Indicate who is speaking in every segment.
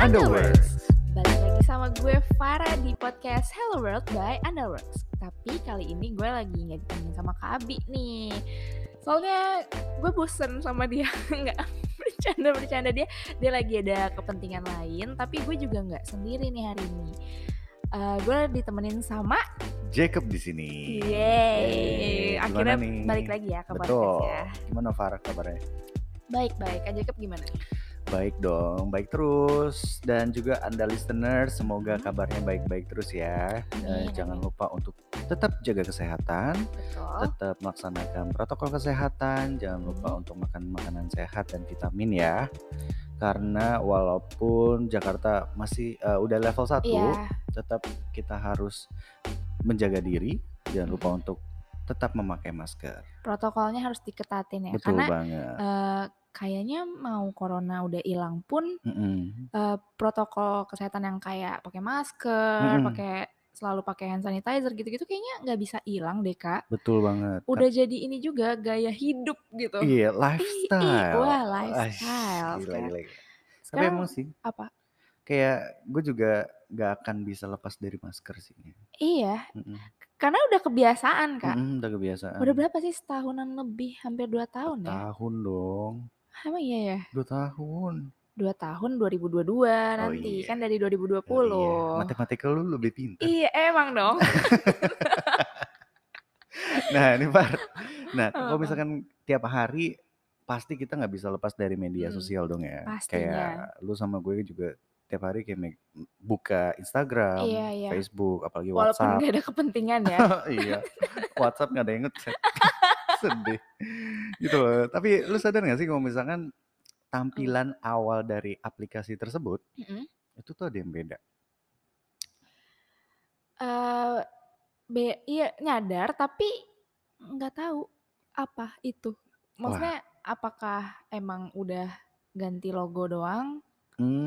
Speaker 1: Underworks.
Speaker 2: Balik lagi sama gue Farah di podcast Hello World by Underworks. Tapi kali ini gue lagi nggak ditemenin sama Kak Abi nih. Soalnya gue bosen sama dia nggak bercanda-bercanda dia. Dia lagi ada kepentingan lain. Tapi gue juga nggak sendiri nih hari ini. Eh, gue ditemenin sama
Speaker 1: Jacob di sini.
Speaker 2: Yeay.
Speaker 1: Yeay,
Speaker 2: Akhirnya
Speaker 1: gimana nih?
Speaker 2: balik lagi ya ke podcast
Speaker 1: Betul.
Speaker 2: ya.
Speaker 1: Gimana Farah kabarnya?
Speaker 2: Baik-baik. Kak Jacob gimana?
Speaker 1: Baik dong, baik terus. Dan juga Anda listener, semoga kabarnya baik-baik terus ya. Eh,
Speaker 2: Hmm. Amin,
Speaker 1: jangan
Speaker 2: amin. Oh.
Speaker 1: lupa untuk tetap jaga kesehatan,
Speaker 2: Betul.
Speaker 1: tetap melaksanakan protokol kesehatan. Jangan lupa
Speaker 2: Hmm.
Speaker 1: untuk makan makanan sehat dan vitamin ya. Karena walaupun Jakarta masih eh, udah level 1,
Speaker 2: Iya.
Speaker 1: tetap kita harus menjaga diri. Jangan lupa untuk tetap memakai masker.
Speaker 2: Protokolnya harus diketatin ya.
Speaker 1: Betul
Speaker 2: Karena
Speaker 1: banget.
Speaker 2: eh, kayaknya mau corona udah hilang pun
Speaker 1: Mm-mm.
Speaker 2: eh, protokol kesehatan yang kayak pakai masker,
Speaker 1: Mm-mm.
Speaker 2: eh, pakai selalu pakai hand sanitizer gitu-gitu kayaknya nggak bisa hilang deh kak.
Speaker 1: Betul banget.
Speaker 2: Udah jadi ini juga gaya hidup gitu.
Speaker 1: Iya, lifestyle.
Speaker 2: Iya, wah,
Speaker 1: Aish,
Speaker 2: lifestyle
Speaker 1: gila,
Speaker 2: sekarang.
Speaker 1: gila, gila. Tapi
Speaker 2: Sekarang
Speaker 1: emang sih,
Speaker 2: apa?
Speaker 1: kayak gue juga gak akan bisa lepas dari masker sih.
Speaker 2: Iya,
Speaker 1: Mm-mm.
Speaker 2: karena udah kebiasaan kak.
Speaker 1: Mm-mm, udah kebiasaan.
Speaker 2: Udah berapa sih setahunan lebih, hampir dua tahun ya?
Speaker 1: Tahun dong,
Speaker 2: Emang iya ya,
Speaker 1: dua tahun.
Speaker 2: dua tahun 2022
Speaker 1: iya.
Speaker 2: nanti kan dari
Speaker 1: Oh
Speaker 2: 2020.
Speaker 1: iya, matematika lu lebih pintar.
Speaker 2: Iya emang dong.
Speaker 1: Nah ini Far, nah kalau
Speaker 2: Apa?
Speaker 1: misalkan tiap hari pasti kita nggak bisa lepas dari media
Speaker 2: Mm,
Speaker 1: sosial dong ya.
Speaker 2: pastinya.
Speaker 1: Kayak lu sama gue juga tiap hari kayak me- buka Instagram,
Speaker 2: Iya, iya.
Speaker 1: Facebook, apalagi
Speaker 2: Walaupun
Speaker 1: WhatsApp.
Speaker 2: nggak ada kepentingan ya.
Speaker 1: iya. WhatsApp nggak ada yang ngechat. Sedih. Gitu loh. Tapi lu sadar nggak sih kalau
Speaker 2: Hmm.
Speaker 1: misalkan tampilan awal dari aplikasi tersebut
Speaker 2: Mm-mm.
Speaker 1: itu tuh ada yang beda.
Speaker 2: eh be- iya nyadar tapi nggak tahu apa itu. Maksudnya apakah emang udah ganti logo doang?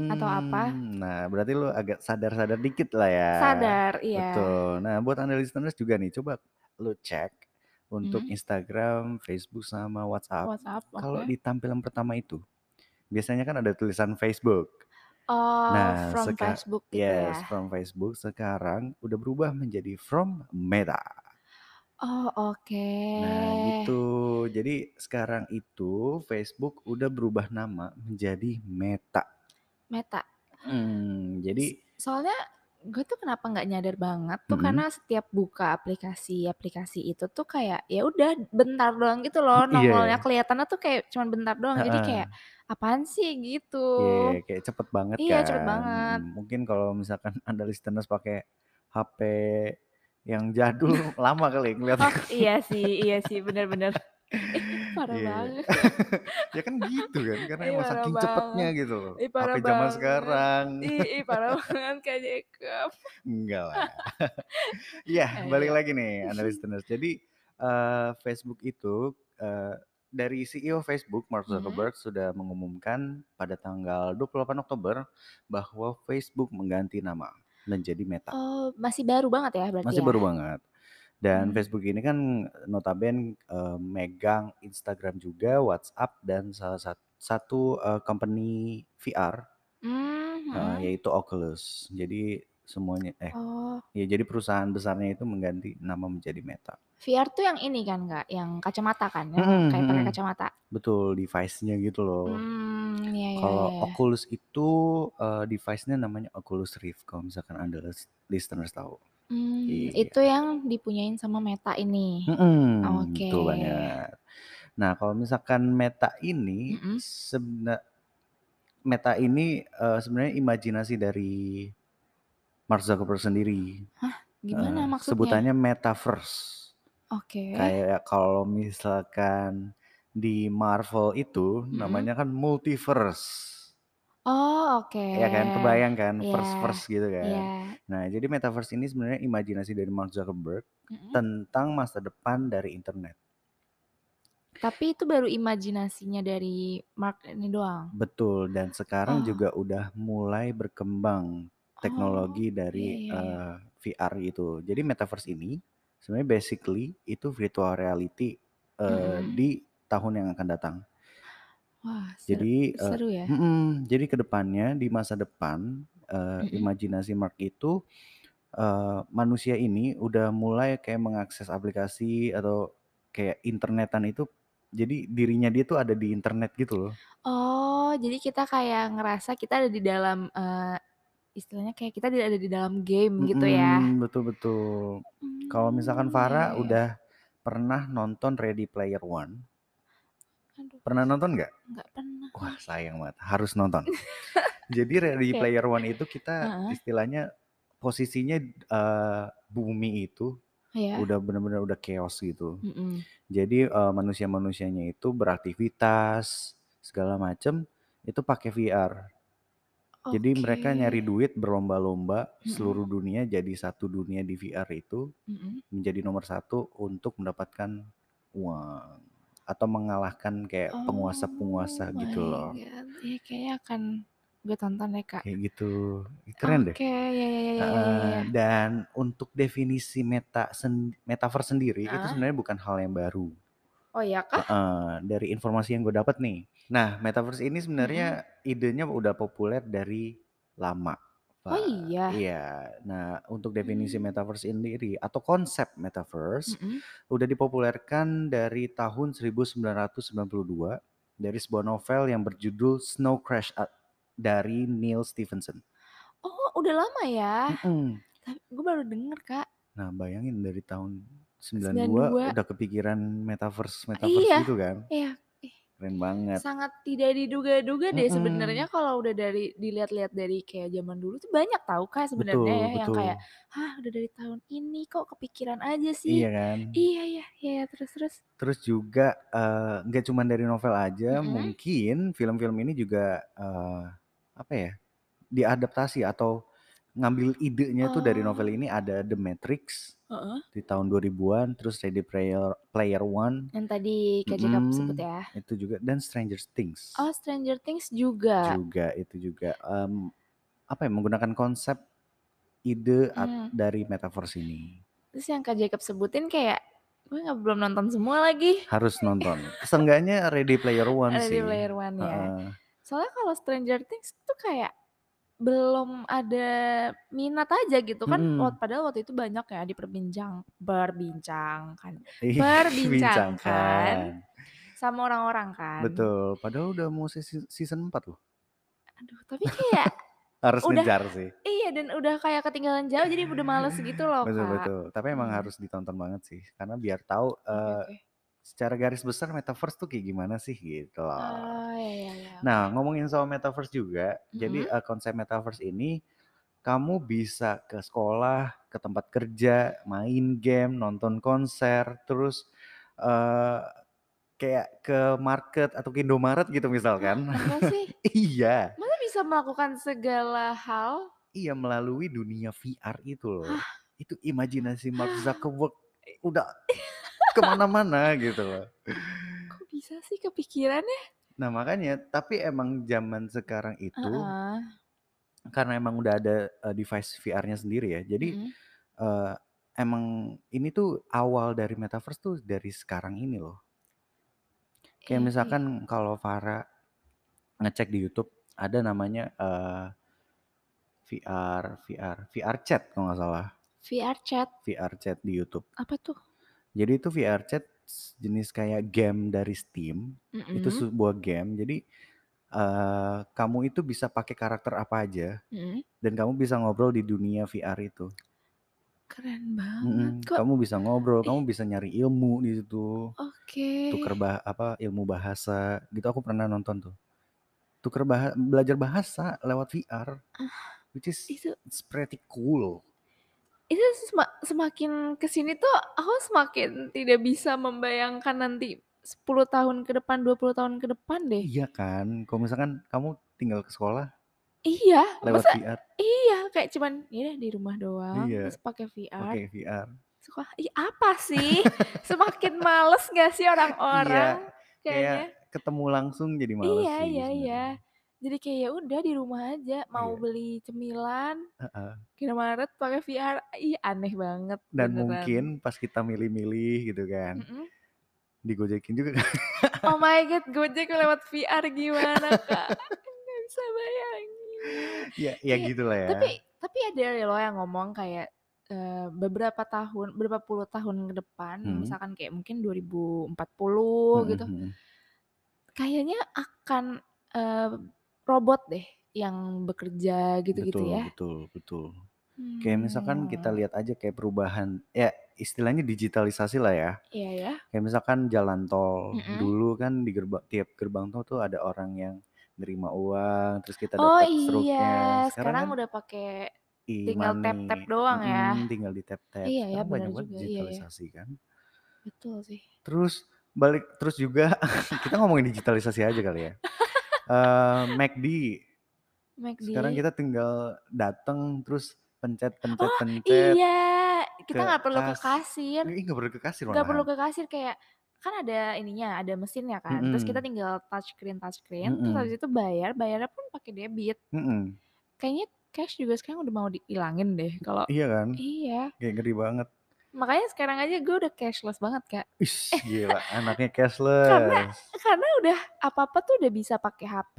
Speaker 2: Atau apa?
Speaker 1: Hmm, Nah, berarti lu agak sadar-sadar dikit lah ya.
Speaker 2: Sadar, iya.
Speaker 1: Betul. Nah, buat anda listeners juga nih, coba lu cek untuk
Speaker 2: Mhm.
Speaker 1: Instagram, Facebook sama WhatsApp.
Speaker 2: WhatsApp.
Speaker 1: Kalau
Speaker 2: oke.
Speaker 1: di tampilan pertama itu biasanya kan ada tulisan Facebook.
Speaker 2: Oh,
Speaker 1: Nah,
Speaker 2: from
Speaker 1: seka-
Speaker 2: Facebook gitu
Speaker 1: Yes,
Speaker 2: ya.
Speaker 1: from Facebook sekarang udah berubah menjadi from Meta.
Speaker 2: Oh, oke. Eh.
Speaker 1: Nah, gitu. Jadi sekarang itu Facebook udah berubah nama menjadi Meta.
Speaker 2: Meta.
Speaker 1: Hmm, jadi
Speaker 2: Soalnya gue tuh kenapa nggak nyadar banget tuh
Speaker 1: Mm-mm.
Speaker 2: karena setiap buka aplikasi-aplikasi itu tuh kayak ya udah bentar doang gitu loh
Speaker 1: Iya,
Speaker 2: nongolnya
Speaker 1: iya.
Speaker 2: kelihatannya tuh kayak cuman bentar doang jadi kayak apaan sih gitu
Speaker 1: Iya, kayak cepet banget
Speaker 2: Iya,
Speaker 1: kan.
Speaker 2: cepet banget.
Speaker 1: Mm, Mungkin kalau misalkan Anda listeners pakai HP yang jadul lama kali ya
Speaker 2: Oh
Speaker 1: ngeliatnya.
Speaker 2: iya sih, iya sih, bener-bener. Ih, parah
Speaker 1: Iya.
Speaker 2: banget.
Speaker 1: ya kan gitu kan, karena
Speaker 2: Ih,
Speaker 1: emang
Speaker 2: parah
Speaker 1: saking
Speaker 2: Iya, banget.
Speaker 1: cepetnya gitu loh.
Speaker 2: Ih,
Speaker 1: HP
Speaker 2: parah
Speaker 1: zaman
Speaker 2: banget.
Speaker 1: sekarang.
Speaker 2: Ih, ih, parah banget Kak Jacob.
Speaker 1: Enggak lah. Iya, balik
Speaker 2: Ayo.
Speaker 1: lagi nih Anda listeners. Jadi eh, Facebook itu eh, dari CEO Facebook Mark
Speaker 2: Mhm.
Speaker 1: Zuckerberg sudah mengumumkan pada tanggal 28 Oktober bahwa Facebook mengganti nama menjadi Meta.
Speaker 2: Oh, masih baru banget ya berarti
Speaker 1: Masih
Speaker 2: ya?
Speaker 1: baru banget. Dan
Speaker 2: Hmm.
Speaker 1: Facebook ini kan notaben eh, megang Instagram juga, WhatsApp dan salah satu satu eh, company VR
Speaker 2: Hmm,
Speaker 1: eh,
Speaker 2: hmm.
Speaker 1: yaitu Oculus. Jadi semuanya eh
Speaker 2: Oh,
Speaker 1: Ya, jadi perusahaan besarnya itu mengganti nama menjadi Meta.
Speaker 2: VR tuh yang ini kan Kak, yang kacamata kan, yang
Speaker 1: Mm-mm,
Speaker 2: kayak pakai
Speaker 1: mm-mm.
Speaker 2: kacamata.
Speaker 1: Betul, device-nya gitu loh.
Speaker 2: Hmm, iya iya
Speaker 1: Kalau
Speaker 2: iya.
Speaker 1: Oculus itu eh, device-nya namanya Oculus Rift kalau misalkan Anda lis- listeners tahu.
Speaker 2: Hmm,
Speaker 1: Iya.
Speaker 2: itu yang dipunyain sama Meta ini.
Speaker 1: Mm-mm,
Speaker 2: Oke.
Speaker 1: Betul banget. Nah, kalau misalkan Meta ini
Speaker 2: Mm-mm.
Speaker 1: sebena- Meta ini eh, sebenarnya imajinasi dari Mark Zuckerberg sendiri. Eh,
Speaker 2: Gimana maksudnya?
Speaker 1: sebutannya metaverse.
Speaker 2: Oke.
Speaker 1: kayak kalau misalkan di Marvel itu
Speaker 2: Mm-mm.
Speaker 1: namanya kan multiverse
Speaker 2: Oh, oke.
Speaker 1: ya kan kebayang kan
Speaker 2: Iya,
Speaker 1: verse verse gitu
Speaker 2: Iya.
Speaker 1: kan nah jadi metaverse ini sebenarnya imajinasi dari Mark Zuckerberg
Speaker 2: Mm-mm.
Speaker 1: tentang masa depan dari internet
Speaker 2: Tapi itu baru imajinasinya dari Mark ini doang.
Speaker 1: betul dan sekarang
Speaker 2: Oh.
Speaker 1: juga udah mulai berkembang teknologi dari
Speaker 2: iya, iya,
Speaker 1: eh, VR itu jadi metaverse ini sebenarnya basically itu virtual reality eh,
Speaker 2: Mm-mm.
Speaker 1: di tahun yang akan datang
Speaker 2: Oh, Wah, seru,
Speaker 1: Jadi eh,
Speaker 2: seru ya.
Speaker 1: mm-mm, jadi kedepannya di masa depan eh,
Speaker 2: Mm-mm.
Speaker 1: imajinasi Mark itu eh, manusia ini udah mulai kayak mengakses aplikasi atau kayak internetan itu jadi dirinya dia tuh ada di internet gitu loh.
Speaker 2: Oh, jadi kita kayak ngerasa kita ada di dalam eh, istilahnya kayak kita tidak ada di dalam game gitu ya.
Speaker 1: Mm-mm, betul-betul. Kalau misalkan
Speaker 2: Hmm, ya
Speaker 1: Farah
Speaker 2: ya ya.
Speaker 1: udah pernah nonton Ready Player One,
Speaker 2: Aduh,
Speaker 1: pernah nonton nggak?
Speaker 2: nggak pernah
Speaker 1: Wah
Speaker 2: lagi.
Speaker 1: sayang banget, harus nonton. Jadi Ready
Speaker 2: Oke.
Speaker 1: Player One itu kita
Speaker 2: Heeh,
Speaker 1: istilahnya posisinya eh, bumi itu
Speaker 2: ya.
Speaker 1: udah bener-bener udah chaos gitu.
Speaker 2: Mm-mm.
Speaker 1: Jadi eh, manusia-manusianya itu beraktivitas segala macem itu pakai VR. Jadi
Speaker 2: Oke.
Speaker 1: mereka nyari duit berlomba-lomba
Speaker 2: Mm-mm.
Speaker 1: seluruh dunia jadi satu dunia di VR itu
Speaker 2: Mm-mm.
Speaker 1: menjadi nomor satu untuk mendapatkan uang atau mengalahkan kayak
Speaker 2: Oh
Speaker 1: penguasa-penguasa gitu
Speaker 2: my
Speaker 1: loh.
Speaker 2: god. Ya kayaknya akan gue tonton deh, Kak.
Speaker 1: Kayak gitu. Keren deh.
Speaker 2: Oke, ya ya ya ya ya ya.
Speaker 1: Heeh,
Speaker 2: ya.
Speaker 1: dan untuk definisi meta sen- metaverse sendiri itu
Speaker 2: Ah.
Speaker 1: sebenarnya bukan hal yang baru.
Speaker 2: Oh ya kah?
Speaker 1: Heeh, dari informasi yang gue dapat nih. Nah, metaverse ini
Speaker 2: Mm-mm.
Speaker 1: sebenarnya idenya udah populer dari lama,
Speaker 2: Oh
Speaker 1: Pak.
Speaker 2: iya.
Speaker 1: Iya. Nah, untuk definisi
Speaker 2: Hmm.
Speaker 1: metaverse sendiri atau konsep metaverse
Speaker 2: Mm-mm.
Speaker 1: udah dipopulerkan dari tahun 1992 dari sebuah novel yang berjudul Snow Crash A- dari Neil Stephenson.
Speaker 2: Oh, udah lama ya.
Speaker 1: Mm-mm.
Speaker 2: Tapi gue baru denger, Kak.
Speaker 1: Nah, bayangin dari tahun 92
Speaker 2: 92.
Speaker 1: udah kepikiran metaverse metaverse
Speaker 2: Iya.
Speaker 1: gitu kan.
Speaker 2: Iya. Ih,
Speaker 1: Keren banget.
Speaker 2: Sangat tidak diduga-duga deh sebenarnya
Speaker 1: Mm-mm.
Speaker 2: kalau udah dari dilihat-lihat dari kayak zaman dulu tuh banyak tau kak sebenarnya
Speaker 1: Betul,
Speaker 2: ya yang
Speaker 1: betul.
Speaker 2: kayak hah udah dari tahun ini kok kepikiran aja sih.
Speaker 1: Iya kan?
Speaker 2: Iya ya, iya ya, terus terus.
Speaker 1: Terus juga eh, nggak cuma dari novel aja,
Speaker 2: Mm-mm.
Speaker 1: mungkin film-film ini juga eh, apa ya? diadaptasi atau ngambil idenya tuh dari novel
Speaker 2: Oh,
Speaker 1: ini ada The Matrix
Speaker 2: heeh.
Speaker 1: di tahun 2000-an, terus Ready Player Player One,
Speaker 2: Yang tadi Kak Jacob sebut
Speaker 1: mm-mm,
Speaker 2: ya.
Speaker 1: itu juga dan Stranger Things
Speaker 2: Oh, Stranger Things juga.
Speaker 1: juga itu juga em, apa ya menggunakan konsep ide at-
Speaker 2: Hmm.
Speaker 1: dari metaverse ini.
Speaker 2: Terus yang Kak Jacob sebutin kayak gue nggak belum nonton semua lagi.
Speaker 1: harus nonton. Seenggaknya Ready Player One
Speaker 2: Ada di
Speaker 1: sih.
Speaker 2: Player One ya.
Speaker 1: Heeh.
Speaker 2: Soalnya kalau Stranger Things tuh kayak belum ada minat aja gitu kan. Wah,
Speaker 1: Mm-mm.
Speaker 2: Padahal waktu itu banyak ya diperbincang, kan berbincangkan,
Speaker 1: Ih,
Speaker 2: berbincangkan
Speaker 1: Iya, Bincangkan.
Speaker 2: sama orang-orang kan.
Speaker 1: Betul. Padahal udah mau season, season 4 loh.
Speaker 2: Aduh, tapi kayak
Speaker 1: Harus
Speaker 2: udah
Speaker 1: ngejar sih.
Speaker 2: iya dan udah kayak ketinggalan jauh jadi udah males gitu loh kak.
Speaker 1: Betul-betul. Tapi emang
Speaker 2: Hmm, Iya.
Speaker 1: harus ditonton banget sih. Karena biar tahu
Speaker 2: oke
Speaker 1: eh,
Speaker 2: oke.
Speaker 1: secara garis besar metaverse tuh kayak gimana sih gitu loh.
Speaker 2: Oh ya ya ya oke.
Speaker 1: Nah, ngomongin soal metaverse juga. Jadi
Speaker 2: Mm-mm.
Speaker 1: eh, konsep metaverse ini kamu bisa ke sekolah, ke tempat kerja, main game, nonton konser, terus eh kayak ke market atau ke Indomaret gitu
Speaker 2: Hah,
Speaker 1: misalkan.
Speaker 2: masa sih?
Speaker 1: iya,
Speaker 2: Masa bisa melakukan segala hal?
Speaker 1: iya melalui dunia VR itu loh.
Speaker 2: Hah?
Speaker 1: Itu imajinasi Mark
Speaker 2: Hah?
Speaker 1: Zuckerberg udah kemana-mana gitu loh.
Speaker 2: Kok bisa sih kepikirannya?
Speaker 1: Nah makanya, tapi emang zaman sekarang itu
Speaker 2: Heeh.
Speaker 1: karena emang udah ada eh, device VR-nya sendiri ya. Jadi
Speaker 2: Mm-mm.
Speaker 1: eh, emang ini tuh awal dari metaverse tuh dari sekarang ini loh. Kayak
Speaker 2: Iya sih.
Speaker 1: misalkan kalau Farah ngecek di YouTube ada namanya eh, VR, VR, VR chat kalau nggak salah,
Speaker 2: VR chat
Speaker 1: VR chat di YouTube.
Speaker 2: apa tuh?
Speaker 1: Jadi itu VR chat jenis kayak game dari Steam. Itu
Speaker 2: Mm-mm.
Speaker 1: sebuah game. Jadi eh, kamu itu bisa pakai karakter apa aja
Speaker 2: Mm-mm.
Speaker 1: dan kamu bisa ngobrol di dunia VR itu.
Speaker 2: Keren banget
Speaker 1: Mm-mm.
Speaker 2: Ah, kok.
Speaker 1: Kamu bisa ngobrol,
Speaker 2: Ih,
Speaker 1: kamu bisa nyari ilmu di situ,
Speaker 2: oke.
Speaker 1: tuker bah apa ilmu bahasa gitu. Aku pernah nonton tuh. Tuker bah belajar bahasa lewat VR,
Speaker 2: Ah,
Speaker 1: which is
Speaker 2: Itu
Speaker 1: it's pretty cool.
Speaker 2: itu sema- semakin kesini tuh aku semakin tidak bisa membayangkan nanti 10 tahun ke depan, 20 tahun ke depan deh.
Speaker 1: Iya kan? Kalau misalkan kamu tinggal ke sekolah
Speaker 2: Iya,
Speaker 1: lewat
Speaker 2: masa
Speaker 1: VR,
Speaker 2: iya kayak cuman ya udah di rumah doang
Speaker 1: iya
Speaker 2: terus pakai VR.
Speaker 1: pakai Iya. VR.
Speaker 2: Sekolah, ih apa sih? Semakin males gak sih
Speaker 1: Iya,
Speaker 2: orang-orang
Speaker 1: kayak
Speaker 2: kayaknya?
Speaker 1: ketemu langsung jadi males
Speaker 2: Iya,
Speaker 1: sih
Speaker 2: iya, iya.
Speaker 1: sebenarnya.
Speaker 2: Jadi kayak ya udah di rumah aja mau
Speaker 1: Iya.
Speaker 2: beli cemilan
Speaker 1: heeh.
Speaker 2: ke Indomaret pakai VR. Ih, aneh banget
Speaker 1: Dan
Speaker 2: beneran. Mm.
Speaker 1: mungkin pas kita milih-milih gitu kan,
Speaker 2: Mm-mm.
Speaker 1: digojekin juga kan?
Speaker 2: Oh my god, Gojek lewat VR gimana kak? Gak bisa bayangin.
Speaker 1: ya ya
Speaker 2: Iya,
Speaker 1: gitu lah ya
Speaker 2: Tapi tapi ada ya loh yang ngomong kayak eh, beberapa tahun, berapa puluh tahun ke depan,
Speaker 1: Hmm.
Speaker 2: misalkan kayak mungkin
Speaker 1: Mm,
Speaker 2: 2040 gitu,
Speaker 1: mm, mm.
Speaker 2: kayaknya akan eh, robot deh yang bekerja gitu-gitu
Speaker 1: betul,
Speaker 2: ya.
Speaker 1: betul betul kayak misalkan kita
Speaker 2: Hmm,
Speaker 1: lihat aja kayak perubahan ya istilahnya digitalisasi lah ya
Speaker 2: Iya ya.
Speaker 1: kayak misalkan jalan tol
Speaker 2: Mm-mm.
Speaker 1: dulu kan di gerba- tiap gerbang tol tuh ada orang yang nerima uang terus kita
Speaker 2: Oh
Speaker 1: dapat struknya
Speaker 2: iya, sekarang,
Speaker 1: kan
Speaker 2: udah pakai tinggal
Speaker 1: tinggal
Speaker 2: tap-tap doang ya.
Speaker 1: tinggal di tap tap
Speaker 2: Iya ya,
Speaker 1: sekarang banyak banget
Speaker 2: benar juga, iya ya.
Speaker 1: digitalisasi kan
Speaker 2: betul sih.
Speaker 1: terus balik terus juga kita ngomongin digitalisasi aja kali ya Eh McD
Speaker 2: McD.
Speaker 1: sekarang kita tinggal datang terus pencet pencet pencet
Speaker 2: Iya,
Speaker 1: ke
Speaker 2: kita nggak perlu ke
Speaker 1: kas-
Speaker 2: kasir,
Speaker 1: Ih, nggak perlu ke kasir
Speaker 2: iya. nggak perlu
Speaker 1: malahan.
Speaker 2: ke kasir kayak kan ada ininya, ada mesinnya kan. Terus kita
Speaker 1: Mm-mm.
Speaker 2: tinggal touch screen, touch screen, terus
Speaker 1: Mm-mm.
Speaker 2: habis itu bayar, bayarnya pun pakai debit.
Speaker 1: Mm-mm.
Speaker 2: Kayaknya cash juga sekarang udah mau dihilangin deh kalau
Speaker 1: iya kan
Speaker 2: iya.
Speaker 1: kayak ngeri banget
Speaker 2: Makanya sekarang aja gue udah cashless banget kak.
Speaker 1: Ish, gila anaknya cashless
Speaker 2: Eh. Karena udah apa-apa tuh udah bisa pakai HP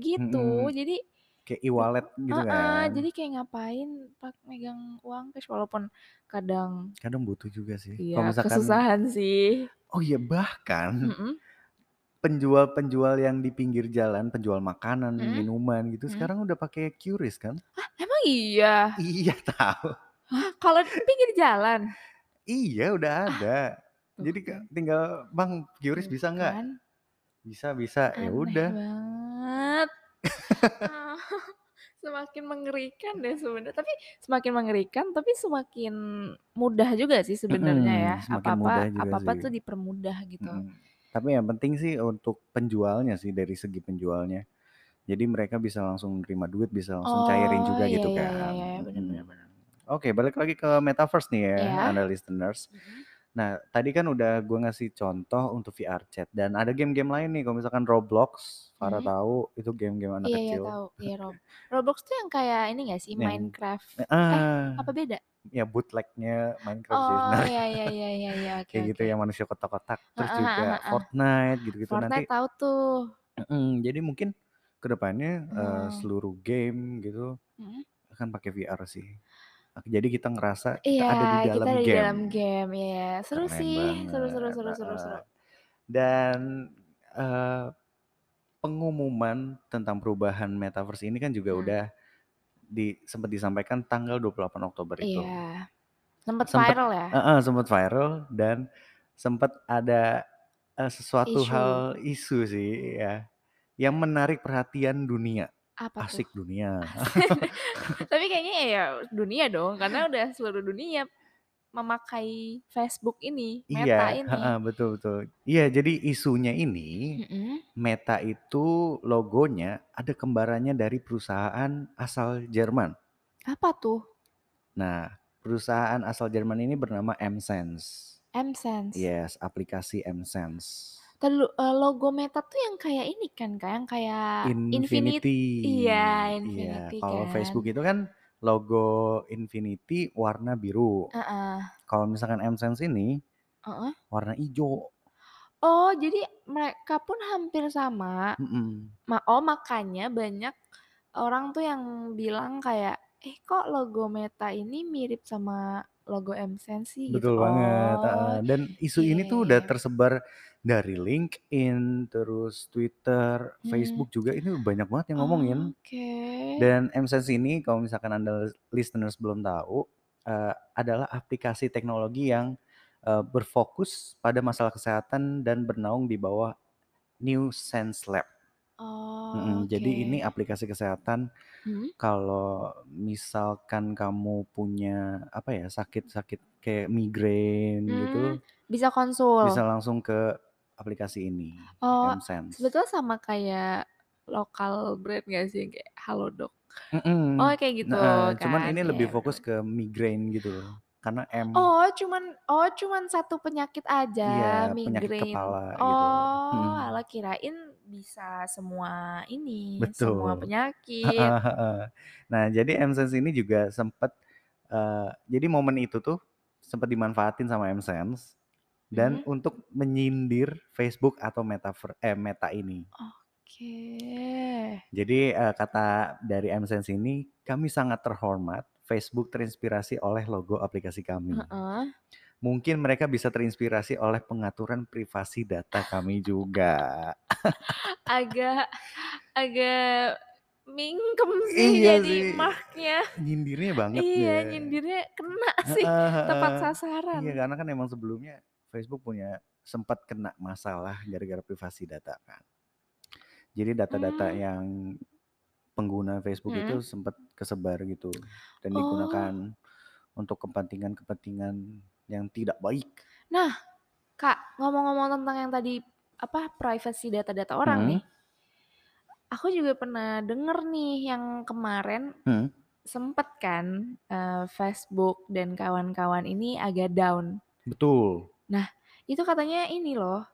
Speaker 2: gitu.
Speaker 1: Mm-mm.
Speaker 2: jadi
Speaker 1: kayak e-wallet gitu
Speaker 2: Heeh,
Speaker 1: kan
Speaker 2: jadi kayak ngapain pak megang uang cash walaupun kadang
Speaker 1: kadang butuh juga sih kalau
Speaker 2: Iya,
Speaker 1: misalkan
Speaker 2: kesusahan Hmm. sih.
Speaker 1: oh iya bahkan
Speaker 2: Mm-mm,
Speaker 1: penjual-penjual yang di pinggir jalan penjual makanan
Speaker 2: Mm-mm,
Speaker 1: minuman gitu
Speaker 2: mm-mm.
Speaker 1: sekarang udah pakai QRIS kan
Speaker 2: Emang iya.
Speaker 1: iya tahu
Speaker 2: Hah, kalau di pinggir jalan.
Speaker 1: iya udah ada
Speaker 2: Tuh
Speaker 1: jadi
Speaker 2: kan.
Speaker 1: ke- tinggal bang QRIS
Speaker 2: Tuh
Speaker 1: bisa nggak
Speaker 2: kan,
Speaker 1: bisa bisa ya
Speaker 2: Aneh
Speaker 1: udah
Speaker 2: banget. Ah, semakin mengerikan deh sebenarnya. Tapi semakin mengerikan, tapi semakin mudah juga sih sebenarnya
Speaker 1: Mm-mm,
Speaker 2: ya.
Speaker 1: semakin mudah
Speaker 2: Apa-apa,
Speaker 1: juga
Speaker 2: apa-apa
Speaker 1: sih
Speaker 2: tuh dipermudah gitu.
Speaker 1: Mm-mm. tapi yang penting sih untuk penjualnya sih dari segi penjualnya jadi mereka bisa langsung terima duit bisa langsung cairin
Speaker 2: Oh,
Speaker 1: juga
Speaker 2: iya
Speaker 1: gitu
Speaker 2: iya iya
Speaker 1: kan
Speaker 2: iya, benar
Speaker 1: Mm-mm.
Speaker 2: benar benar.
Speaker 1: oke balik lagi ke metaverse nih ya
Speaker 2: Iya.
Speaker 1: anda listeners
Speaker 2: Mm-mm.
Speaker 1: Nah, tadi kan udah gue ngasih contoh untuk VR chat dan ada game-game lain nih, kalau misalkan Roblox, Farah
Speaker 2: Mm-mm.
Speaker 1: tahu itu game-game anak
Speaker 2: Mm-hmm. Iya iya
Speaker 1: kecil.
Speaker 2: tahu. Iya Rob. Roblox tuh yang kayak ini gak sih
Speaker 1: Yang
Speaker 2: Minecraft? Eh apa
Speaker 1: ah,
Speaker 2: beda?
Speaker 1: ya bootlegnya Minecraft sih
Speaker 2: Oh
Speaker 1: sebenarnya.
Speaker 2: iya iya iya iya iya oke
Speaker 1: Kayak gitu
Speaker 2: oke.
Speaker 1: yang manusia kotak-kotak, terus
Speaker 2: Heeh, heeh,
Speaker 1: juga
Speaker 2: heeh.
Speaker 1: Fortnite gitu-gitu nanti.
Speaker 2: Fortnite tahu tuh.
Speaker 1: Mm, jadi mungkin kedepannya eh,
Speaker 2: Hmm.
Speaker 1: seluruh game gitu
Speaker 2: Mm.
Speaker 1: akan pakai VR sih. Jadi kita ngerasa kita
Speaker 2: Iya,
Speaker 1: ada di
Speaker 2: kita
Speaker 1: dalam
Speaker 2: di dalam
Speaker 1: game.
Speaker 2: game ya. Seru
Speaker 1: Keren
Speaker 2: sih, seru seru
Speaker 1: banget.
Speaker 2: seru seru seru.
Speaker 1: Heeh. Dan eh, pengumuman tentang perubahan metaverse ini kan juga
Speaker 2: Mm.
Speaker 1: udah di, sempat disampaikan tanggal 28 Oktober itu.
Speaker 2: Iya. Sempet
Speaker 1: Sempat
Speaker 2: viral ya
Speaker 1: sempat viral dan sempat ada eh, sesuatu
Speaker 2: isu
Speaker 1: hal isu sih ya yang menarik perhatian dunia.
Speaker 2: apa tuh? Ah,
Speaker 1: Asik dunia.
Speaker 2: Tapi kayaknya ya dunia dong karena udah seluruh dunia memakai Facebook ini, Meta
Speaker 1: iya,
Speaker 2: ini. Hmm.
Speaker 1: heeh, betul betul. Iya, jadi isunya ini
Speaker 2: Mm-mm.
Speaker 1: Meta itu logonya ada kembarannya dari perusahaan asal Jerman.
Speaker 2: Apa tuh?
Speaker 1: Nah, perusahaan asal Jerman ini bernama MSense.
Speaker 2: AdSense.
Speaker 1: Yes, aplikasi MSense.
Speaker 2: Tadi lu- eh, logo Meta tuh yang kayak ini kan, kayak yang kayak Infinity.
Speaker 1: Infinity.
Speaker 2: Iya,
Speaker 1: Iya,
Speaker 2: Infinity
Speaker 1: kalau
Speaker 2: kan.
Speaker 1: Facebook itu kan logo Infinity warna biru.
Speaker 2: Heeh,
Speaker 1: Kalau misalkan MSense ini
Speaker 2: heeh.
Speaker 1: warna hijau.
Speaker 2: Oh, jadi mereka pun hampir sama.
Speaker 1: Mm-mm.
Speaker 2: Ma- Oh, makanya banyak orang tuh yang bilang kayak, eh kok logo Meta ini mirip sama logo AdSense sih gitu.
Speaker 1: Betul banget.
Speaker 2: Oh,
Speaker 1: ah. dan isu
Speaker 2: iya
Speaker 1: ini tuh
Speaker 2: iya.
Speaker 1: udah tersebar dari LinkedIn, terus Twitter,
Speaker 2: Hmm,
Speaker 1: Facebook juga. Ini banyak banget yang ngomongin.
Speaker 2: oke.
Speaker 1: Dan MSense ini kalau misalkan Anda listeners belum tahu eh, adalah aplikasi teknologi yang eh, berfokus pada masalah kesehatan dan bernaung di bawah New Sense Lab. Mm,
Speaker 2: Oke.
Speaker 1: jadi ini aplikasi kesehatan
Speaker 2: Hmm,
Speaker 1: kalau misalkan kamu punya apa ya sakit-sakit kayak migrain
Speaker 2: hmm,
Speaker 1: gitu
Speaker 2: bisa konsul.
Speaker 1: bisa langsung ke aplikasi ini
Speaker 2: Oh,
Speaker 1: MSense.
Speaker 2: sebetulnya sama kayak lokal brand gak sih kayak Halo Dok. Oh,
Speaker 1: Mm-mm.
Speaker 2: kayak gitu
Speaker 1: Nah, eh, cuman
Speaker 2: kan.
Speaker 1: ini lebih
Speaker 2: Iya,
Speaker 1: fokus
Speaker 2: benar.
Speaker 1: ke migrain gitu loh. Karena M
Speaker 2: Oh, cuman oh cuman satu penyakit
Speaker 1: Iya,
Speaker 2: aja,
Speaker 1: penyakit
Speaker 2: migrain.
Speaker 1: kepala gitu.
Speaker 2: Oh,
Speaker 1: Mm.
Speaker 2: ala kirain bisa semua ini, semua
Speaker 1: Betul.
Speaker 2: penyakit.
Speaker 1: Heeh, heeh. nah, jadi MSense ini juga sempat eh jadi momen itu tuh sempat dimanfaatin sama MSense dan
Speaker 2: Mhm.
Speaker 1: untuk menyindir Facebook atau metaver eh Meta ini.
Speaker 2: Oke.
Speaker 1: Jadi eh, kata dari AdSense ini, kami sangat terhormat Facebook terinspirasi oleh logo aplikasi kami.
Speaker 2: Heeh.
Speaker 1: Mungkin mereka bisa terinspirasi oleh pengaturan privasi data kami juga.
Speaker 2: Agak agak mingkem sih
Speaker 1: Iya
Speaker 2: jadi
Speaker 1: sih.
Speaker 2: marknya.
Speaker 1: Nyindirnya banget
Speaker 2: Iya,
Speaker 1: ya.
Speaker 2: nyindirnya kena sih.
Speaker 1: Heeh,
Speaker 2: Tepat
Speaker 1: heeh.
Speaker 2: sasaran.
Speaker 1: Iya, karena kan emang sebelumnya Facebook punya sempat kena masalah gara-gara privasi data kan. Jadi data-data
Speaker 2: Hmm.
Speaker 1: yang pengguna Facebook itu sempat kesebar gitu dan digunakan
Speaker 2: Oh.
Speaker 1: untuk kepentingan-kepentingan yang tidak baik.
Speaker 2: Kak, ngomong-ngomong tentang yang tadi apa privasi data-data orang
Speaker 1: Hmm.
Speaker 2: nih. Aku juga pernah denger nih yang kemarin
Speaker 1: Hmm.
Speaker 2: sempet kan eh, Facebook dan kawan-kawan ini agak down.
Speaker 1: Betul.
Speaker 2: Itu katanya ini loh,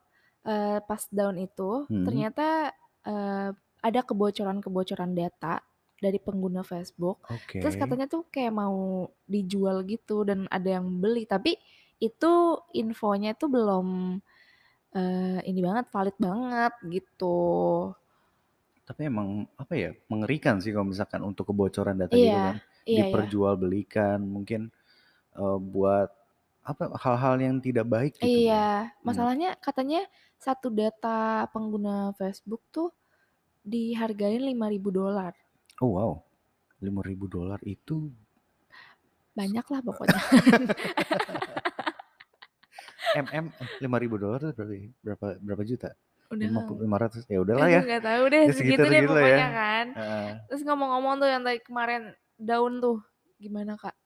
Speaker 2: eh, pas down itu
Speaker 1: Hmm.
Speaker 2: ternyata eh, ada kebocoran-kebocoran data dari pengguna Facebook
Speaker 1: Oke.
Speaker 2: Terus katanya tuh kayak mau dijual gitu dan ada yang beli, tapi itu infonya tuh belum eh, ini banget valid banget gitu.
Speaker 1: Tapi emang apa ya mengerikan sih kalau misalkan untuk kebocoran data gitu kan
Speaker 2: Iya, iya, iya.
Speaker 1: diperjualbelikan mungkin eh, buat apa hal-hal yang tidak baik gitu.
Speaker 2: Iya,
Speaker 1: kan.
Speaker 2: masalahnya katanya satu data pengguna Facebook tuh dihargai 5.000 dolar.
Speaker 1: Oh wow, 5.000 dolar itu
Speaker 2: Banyak lah pokoknya.
Speaker 1: mm eh, 5.000 dolar itu berarti berapa berapa juta?
Speaker 2: Udah.
Speaker 1: 50 500 ya udahlah ya.
Speaker 2: Aduh, nggak tahu deh
Speaker 1: Ya,
Speaker 2: segitu, deh
Speaker 1: segitu-segitu lah ya.
Speaker 2: pokoknya kan.
Speaker 1: Heeh.
Speaker 2: Terus ngomong-ngomong tuh yang tadi kemarin daun tuh gimana kak?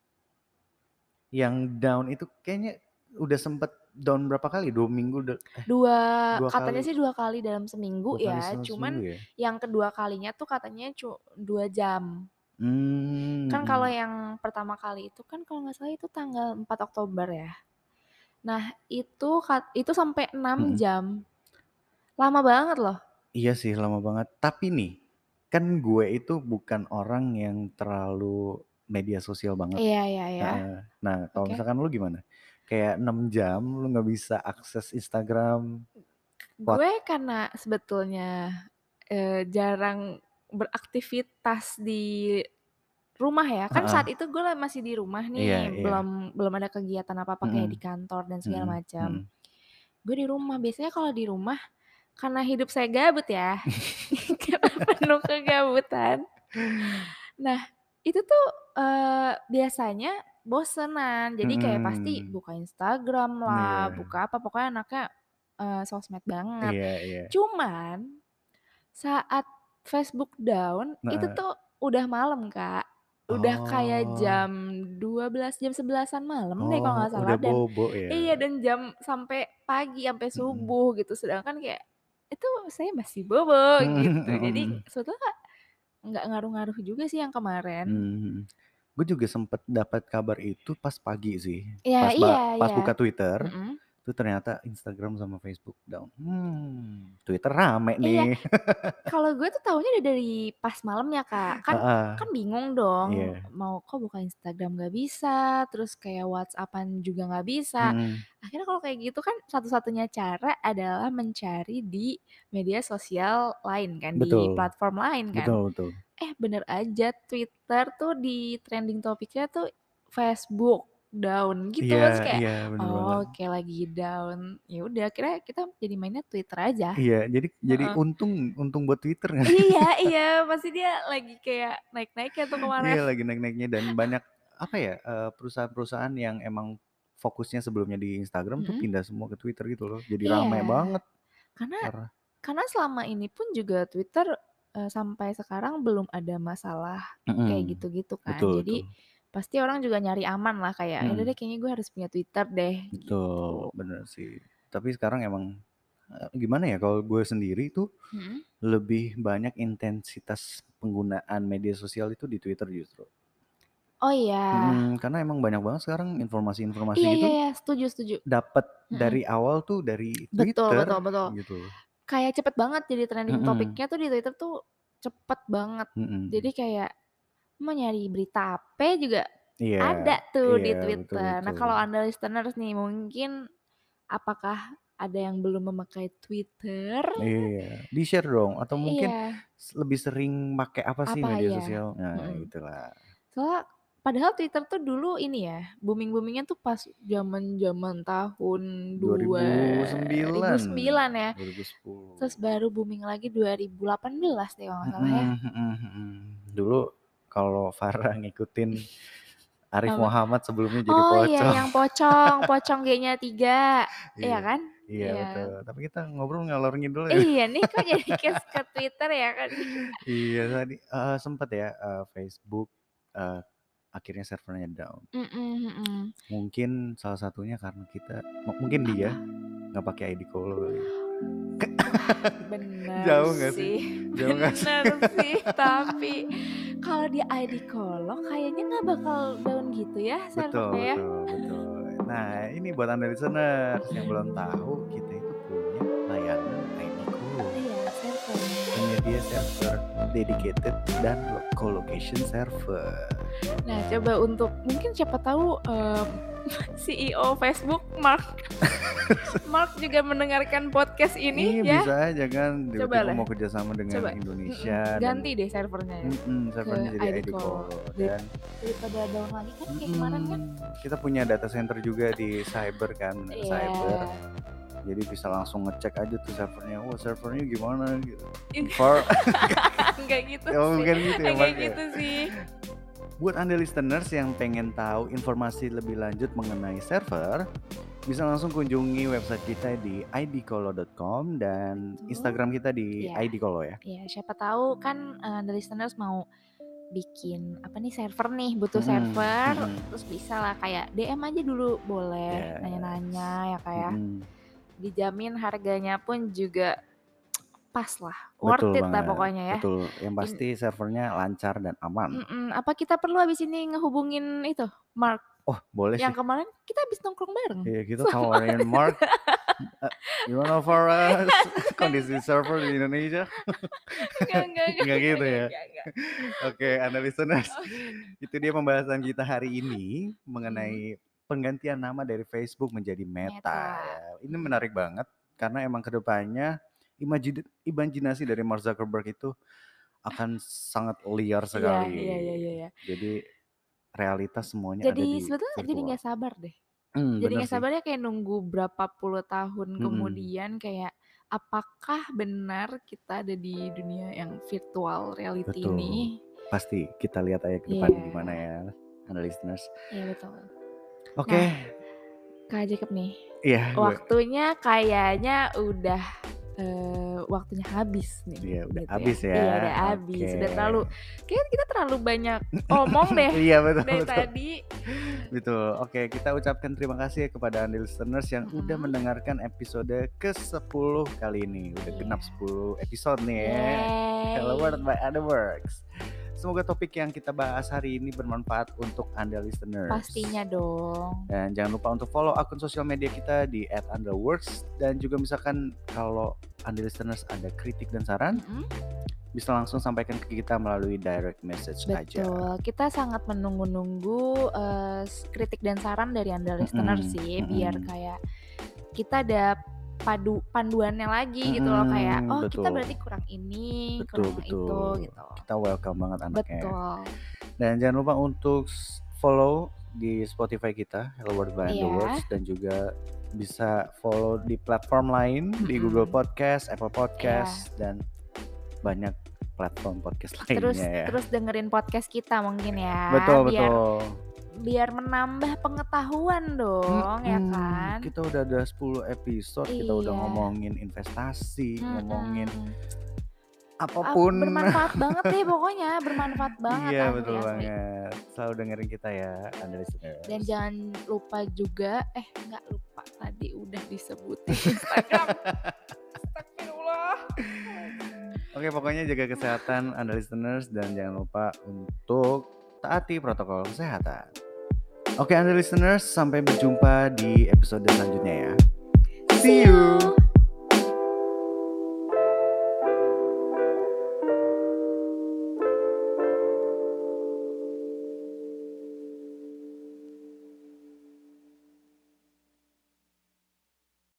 Speaker 1: yang down itu kayaknya udah sempet down berapa kali? Dua minggu udah- eh,
Speaker 2: dua,
Speaker 1: Dua
Speaker 2: katanya
Speaker 1: kali-
Speaker 2: sih dua kali dalam seminggu
Speaker 1: dua kali
Speaker 2: ya
Speaker 1: se-
Speaker 2: cuman
Speaker 1: seminggu ya?
Speaker 2: yang kedua kalinya tuh katanya cu- dua jam
Speaker 1: Hmm,
Speaker 2: kan kalau
Speaker 1: hmm.
Speaker 2: yang pertama kali itu kan kalau nggak salah itu tanggal 4 Oktober ya nah itu kat- itu sampai 6
Speaker 1: Mm-mm.
Speaker 2: jam lama banget loh
Speaker 1: Iya sih lama banget. Tapi nih, kan gue itu bukan orang yang terlalu media sosial banget.
Speaker 2: iya iya iya
Speaker 1: Heeh. Nah, kalau
Speaker 2: oke
Speaker 1: misalkan lu gimana? Kayak 6 jam lu nggak bisa akses Instagram. What?
Speaker 2: gue karena sebetulnya eh, jarang beraktivitas di rumah ya kan saat
Speaker 1: Heeh.
Speaker 2: itu gue masih di
Speaker 1: Iya,
Speaker 2: rumah nih
Speaker 1: iya.
Speaker 2: belum belum ada kegiatan apa apa kayak
Speaker 1: Mm-mm.
Speaker 2: di kantor dan segala
Speaker 1: Mm-mm.
Speaker 2: macam
Speaker 1: Mm-mm.
Speaker 2: gue di rumah biasanya kalau di rumah karena hidup saya gabut ya karena penuh kegabutan nah itu tuh eh, biasanya bosenan jadi kayak pasti
Speaker 1: Mm-mm.
Speaker 2: buka Instagram
Speaker 1: Hmm.
Speaker 2: lah
Speaker 1: Iya.
Speaker 2: buka apa pokoknya anaknya eh, sosmed banget
Speaker 1: Iya, iya.
Speaker 2: cuman saat Facebook down itu
Speaker 1: Nah,
Speaker 2: tuh udah malam kak udah kayak
Speaker 1: oh.
Speaker 2: jam 12 jam 11-an malam deh
Speaker 1: Oh,
Speaker 2: kalau nggak salah
Speaker 1: udah
Speaker 2: dan
Speaker 1: bobo ya.
Speaker 2: Iya dan jam sampai pagi sampai
Speaker 1: Mm-mm.
Speaker 2: subuh gitu. Sedangkan kayak itu saya masih bobo gitu. Jadi
Speaker 1: Mm-mm.
Speaker 2: sebetulnya nggak ngaruh-ngaruh juga sih yang kemarin.
Speaker 1: Hmm, gue juga sempet dapat kabar itu pas pagi sih,
Speaker 2: Ya
Speaker 1: pas
Speaker 2: iya
Speaker 1: ba- pas
Speaker 2: iya.
Speaker 1: buka Twitter,
Speaker 2: Mm-mm.
Speaker 1: tuh ternyata Instagram sama Facebook down. Hmm, Twitter rame
Speaker 2: Iya.
Speaker 1: nih.
Speaker 2: Kalau gue tuh taunya udah dari pas malamnya kak. Kan
Speaker 1: Heeh,
Speaker 2: kan bingung dong.
Speaker 1: Iya.
Speaker 2: Mau kok buka Instagram nggak bisa. Terus kayak WhatsAppan juga nggak bisa.
Speaker 1: Mm-mm.
Speaker 2: Akhirnya kalau kayak gitu kan satu-satunya cara adalah mencari di media sosial lain kan, di
Speaker 1: Betul,
Speaker 2: platform lain kan.
Speaker 1: betul, betul.
Speaker 2: eh bener aja Twitter tuh di trending topiknya tuh Facebook down gitu
Speaker 1: Iya,
Speaker 2: mas kayak
Speaker 1: iya, bener banget.
Speaker 2: oh kayak lagi down ya udah akhirnya kita jadi mainnya Twitter aja
Speaker 1: Iya, jadi jadi
Speaker 2: Heeh.
Speaker 1: untung untung buat Twitter nggak sih?
Speaker 2: iya iya pasti dia lagi kayak naik naiknya tuh kemarin
Speaker 1: Iya lagi naik-naiknya dan banyak apa ya eh, perusahaan-perusahaan yang emang fokusnya sebelumnya di Instagram tuh
Speaker 2: Mm-mm.
Speaker 1: pindah semua ke Twitter gitu loh. Jadi
Speaker 2: Mm-hmm. iya
Speaker 1: rame banget.
Speaker 2: karena
Speaker 1: Parah.
Speaker 2: karena selama ini pun juga Twitter eh, sampai sekarang belum ada masalah kayak
Speaker 1: Mm-mm.
Speaker 2: gitu-gitu kan.
Speaker 1: Hmm, Betul,
Speaker 2: Jadi
Speaker 1: betul.
Speaker 2: pasti orang juga nyari aman lah kayak, ya udah
Speaker 1: Mm.
Speaker 2: deh kayaknya gue harus punya Twitter deh
Speaker 1: Betul,
Speaker 2: gitu.
Speaker 1: bener sih. Tapi sekarang emang eh, gimana ya kalau gue sendiri tuh
Speaker 2: Mm-mm.
Speaker 1: lebih banyak intensitas penggunaan media sosial itu di Twitter justru.
Speaker 2: Oh iya,
Speaker 1: Mm, karena emang banyak banget sekarang informasi-informasi
Speaker 2: iya iya
Speaker 1: gitu
Speaker 2: iya, setuju setuju.
Speaker 1: dapat
Speaker 2: Mm-mm.
Speaker 1: dari awal tuh dari
Speaker 2: Betul
Speaker 1: Twitter
Speaker 2: betul betul.
Speaker 1: gitu loh.
Speaker 2: Kayak cepet banget jadi trending
Speaker 1: Mm-mm,
Speaker 2: topiknya tuh di Twitter tuh cepet banget. Jadi
Speaker 1: mm-mm.
Speaker 2: kayak mau nyari berita apa juga
Speaker 1: Iya,
Speaker 2: ada tuh
Speaker 1: iya
Speaker 2: di Twitter. Nah
Speaker 1: betul-betul.
Speaker 2: kalau anda listeners nih mungkin apakah ada yang belum memakai Twitter?
Speaker 1: Iya, di-share dong atau mungkin
Speaker 2: Iya.
Speaker 1: s- lebih sering pakai apa sih
Speaker 2: Apa,
Speaker 1: media
Speaker 2: iya.
Speaker 1: sosial? Nah,
Speaker 2: Mm-mm.
Speaker 1: itulah.
Speaker 2: Soalnya padahal Twitter tuh dulu ini ya, booming-boomingnya tuh pas zaman-zaman tahun
Speaker 1: 2009,
Speaker 2: 2009 ya.
Speaker 1: 2010.
Speaker 2: Terus baru booming lagi 2018 deh kalau nggak salah ya.
Speaker 1: Mm-mm, mm-mm, mm-mm. Dulu kalau Farah ngikutin Arif
Speaker 2: Apa?
Speaker 1: Muhammad sebelumnya jadi
Speaker 2: Oh iya,
Speaker 1: pocong.
Speaker 2: yang pocong, pocong G-nya tiga, iya kan?
Speaker 1: Iya,
Speaker 2: Iya.
Speaker 1: betul. Tapi kita ngobrol ngalor ngidul ya.
Speaker 2: Iya nih kok jadi ke, ke Twitter ya kan?
Speaker 1: iya, tadi eh, sempat ya eh, Facebook eh, akhirnya servernya down.
Speaker 2: Mm-mm, mm-mm.
Speaker 1: Mungkin salah satunya karena kita m- mungkin dia nggak pakai ID call. kali.
Speaker 2: Bener
Speaker 1: Jauh nggak sih? Jauh nggak sih?
Speaker 2: Bener sih, tapi kalau di ID kolok kayaknya nggak bakal down gitu ya
Speaker 1: Betul,
Speaker 2: servernya ya.
Speaker 1: betul, betul. Nah, ini buat anda listeners yang belum tahu, kita itu punya layanan ID call.
Speaker 2: Iya, server.
Speaker 1: penyedia server dedicated dan lo- co-location server.
Speaker 2: Nah, coba untuk mungkin siapa tahu em, CEO Facebook Mark Mark juga mendengarkan podcast ini ya.
Speaker 1: Iya, bisa aja kan tiba-tiba
Speaker 2: Cobalah.
Speaker 1: mau kerjasama dengan
Speaker 2: Coba.
Speaker 1: Indonesia.
Speaker 2: Mm-mm, Ganti deh servernya
Speaker 1: Dan,
Speaker 2: ya.
Speaker 1: Mm-mm, servernya
Speaker 2: ke
Speaker 1: jadi
Speaker 2: ID
Speaker 1: ID
Speaker 2: call.
Speaker 1: call.
Speaker 2: Jadi,
Speaker 1: Dan
Speaker 2: Daripada down lagi kan kayak kemarin kan.
Speaker 1: mm, kita punya data center juga di cyber kan, di
Speaker 2: Iya.
Speaker 1: cyber. Jadi bisa langsung ngecek aja tuh servernya. Wah servernya gimana gitu.
Speaker 2: Ini-
Speaker 1: For,
Speaker 2: Enggak gitu
Speaker 1: oh,
Speaker 2: sih.
Speaker 1: bukan gitu ya,
Speaker 2: Enggak
Speaker 1: Mark, ya?
Speaker 2: Iya. gitu sih.
Speaker 1: Buat Anda listeners yang pengen tahu informasi lebih lanjut mengenai server, bisa langsung kunjungi website kita di idcolo.com dan
Speaker 2: Betul.
Speaker 1: Instagram kita di
Speaker 2: Iya.
Speaker 1: idcolo ya.
Speaker 2: Ya, siapa tahu kan eh, the listeners mau bikin apa nih server nih, butuh
Speaker 1: Mm-mm,
Speaker 2: server,
Speaker 1: mm-mm.
Speaker 2: terus bisa lah kayak DM aja dulu boleh
Speaker 1: Yes.
Speaker 2: nanya-nanya ya kayak
Speaker 1: Mm-mm,
Speaker 2: dijamin harganya pun juga pas lah,
Speaker 1: betul
Speaker 2: worth it lah
Speaker 1: banget,
Speaker 2: pokoknya ya.
Speaker 1: Betul. Yang pasti servernya lancar dan aman.
Speaker 2: Mm-mm, Apa kita perlu abis ini ngehubungin itu Mark
Speaker 1: Oh, boleh
Speaker 2: Mm. yang
Speaker 1: sih.
Speaker 2: kemarin kita abis nongkrong bareng?
Speaker 1: Iya, kita tawarin Mark. eh, You wanna for us kondisi server di Indonesia?
Speaker 2: Enggak, enggak,
Speaker 1: Enggak gitu ya?
Speaker 2: enggak, enggak.
Speaker 1: Oke, Anda listeners,
Speaker 2: Oke. Hmm.
Speaker 1: itu dia pembahasan kita hari ini mengenai penggantian nama dari Facebook menjadi Meta.
Speaker 2: Meta.
Speaker 1: ya. Ini menarik banget karena emang kedepannya imajid- imajinasi dari Mark Zuckerberg itu akan sangat liar
Speaker 2: Iya,
Speaker 1: sekali.
Speaker 2: iya, iya, iya, iya.
Speaker 1: Jadi realitas semuanya ada
Speaker 2: Jadi
Speaker 1: di
Speaker 2: sebetulnya jadi
Speaker 1: virtual.
Speaker 2: nggak sabar deh.
Speaker 1: Hmm,
Speaker 2: jadi
Speaker 1: bener
Speaker 2: nggak
Speaker 1: sih.
Speaker 2: sabarnya kayak nunggu berapa puluh tahun
Speaker 1: Mm-mm.
Speaker 2: kemudian kayak apakah benar kita ada di dunia yang virtual reality
Speaker 1: Betul.
Speaker 2: ini
Speaker 1: Pasti kita lihat aja ke depan
Speaker 2: Iya.
Speaker 1: gimana ya, Anda listeners.
Speaker 2: ya betul
Speaker 1: Oke,
Speaker 2: Nah, kak Jacob nih
Speaker 1: iya. gue-
Speaker 2: waktunya kayaknya udah eh, waktunya habis nih
Speaker 1: Iya, udah
Speaker 2: gitu
Speaker 1: habis ya.
Speaker 2: iya udah habis udah
Speaker 1: Oke.
Speaker 2: terlalu eh, kayak kita terlalu banyak omong deh
Speaker 1: Iya betul
Speaker 2: dari
Speaker 1: betul.
Speaker 2: tadi
Speaker 1: Betul. Gitu. Oke, kita ucapkan terima kasih kepada Anda listeners yang udah
Speaker 2: Mhm.
Speaker 1: mendengarkan episode ke-10 kali ini. Udah
Speaker 2: Iya.
Speaker 1: genap 10 episode nih ya.
Speaker 2: Yeay.
Speaker 1: Hello World by Other Works. Semoga topik yang kita bahas hari ini bermanfaat untuk Anda listeners.
Speaker 2: pastinya dong
Speaker 1: Dan jangan lupa untuk follow akun sosial media kita di @underworks dan juga misalkan kalau Anda listeners ada kritik dan saran
Speaker 2: Mm-mm.
Speaker 1: bisa langsung sampaikan ke kita melalui direct message aja.
Speaker 2: Betul, kita sangat menunggu-nunggu eh, s- kritik dan saran dari anda listener
Speaker 1: Mm-mm,
Speaker 2: sih, biar
Speaker 1: mm-mm.
Speaker 2: kayak kita ada padu panduannya lagi gitu loh kayak,
Speaker 1: Mm-mm,
Speaker 2: oh kita
Speaker 1: betul.
Speaker 2: berarti kurang ini,
Speaker 1: Betul,
Speaker 2: kurang itu
Speaker 1: betul.
Speaker 2: gitu.
Speaker 1: Kita welcome banget anaknya.
Speaker 2: Betul,
Speaker 1: Dan jangan lupa untuk s- follow di Spotify kita Hello World by The
Speaker 2: Iya.
Speaker 1: Words dan juga bisa follow di platform lain di
Speaker 2: Mm-mm. Iya.
Speaker 1: Google Podcast, Apple Podcast dan banyak platform podcast lainnya
Speaker 2: terus
Speaker 1: ya.
Speaker 2: terus dengerin podcast kita mungkin ya,
Speaker 1: betul
Speaker 2: biar
Speaker 1: betul.
Speaker 2: biar menambah pengetahuan dong ya
Speaker 1: Mm-mm.
Speaker 2: kan.
Speaker 1: Kita udah ada 10 episode, kita udah
Speaker 2: Iya.
Speaker 1: ngomongin investasi,
Speaker 2: Mm-mm.
Speaker 1: ngomongin
Speaker 2: Ah,
Speaker 1: apapun.
Speaker 2: bermanfaat banget deh pokoknya, bermanfaat banget
Speaker 1: iya
Speaker 2: asli,
Speaker 1: betul
Speaker 2: asli.
Speaker 1: banget. Selalu dengerin kita ya, Anda listeners.
Speaker 2: Dan jangan lupa juga, eh nggak lupa tadi udah disebutin Instagram. Astagfirullah.
Speaker 1: Oke, pokoknya jaga kesehatan Anda listeners dan jangan lupa untuk taati protokol kesehatan. Oke, Anda listeners, sampai berjumpa di episode selanjutnya ya. See you.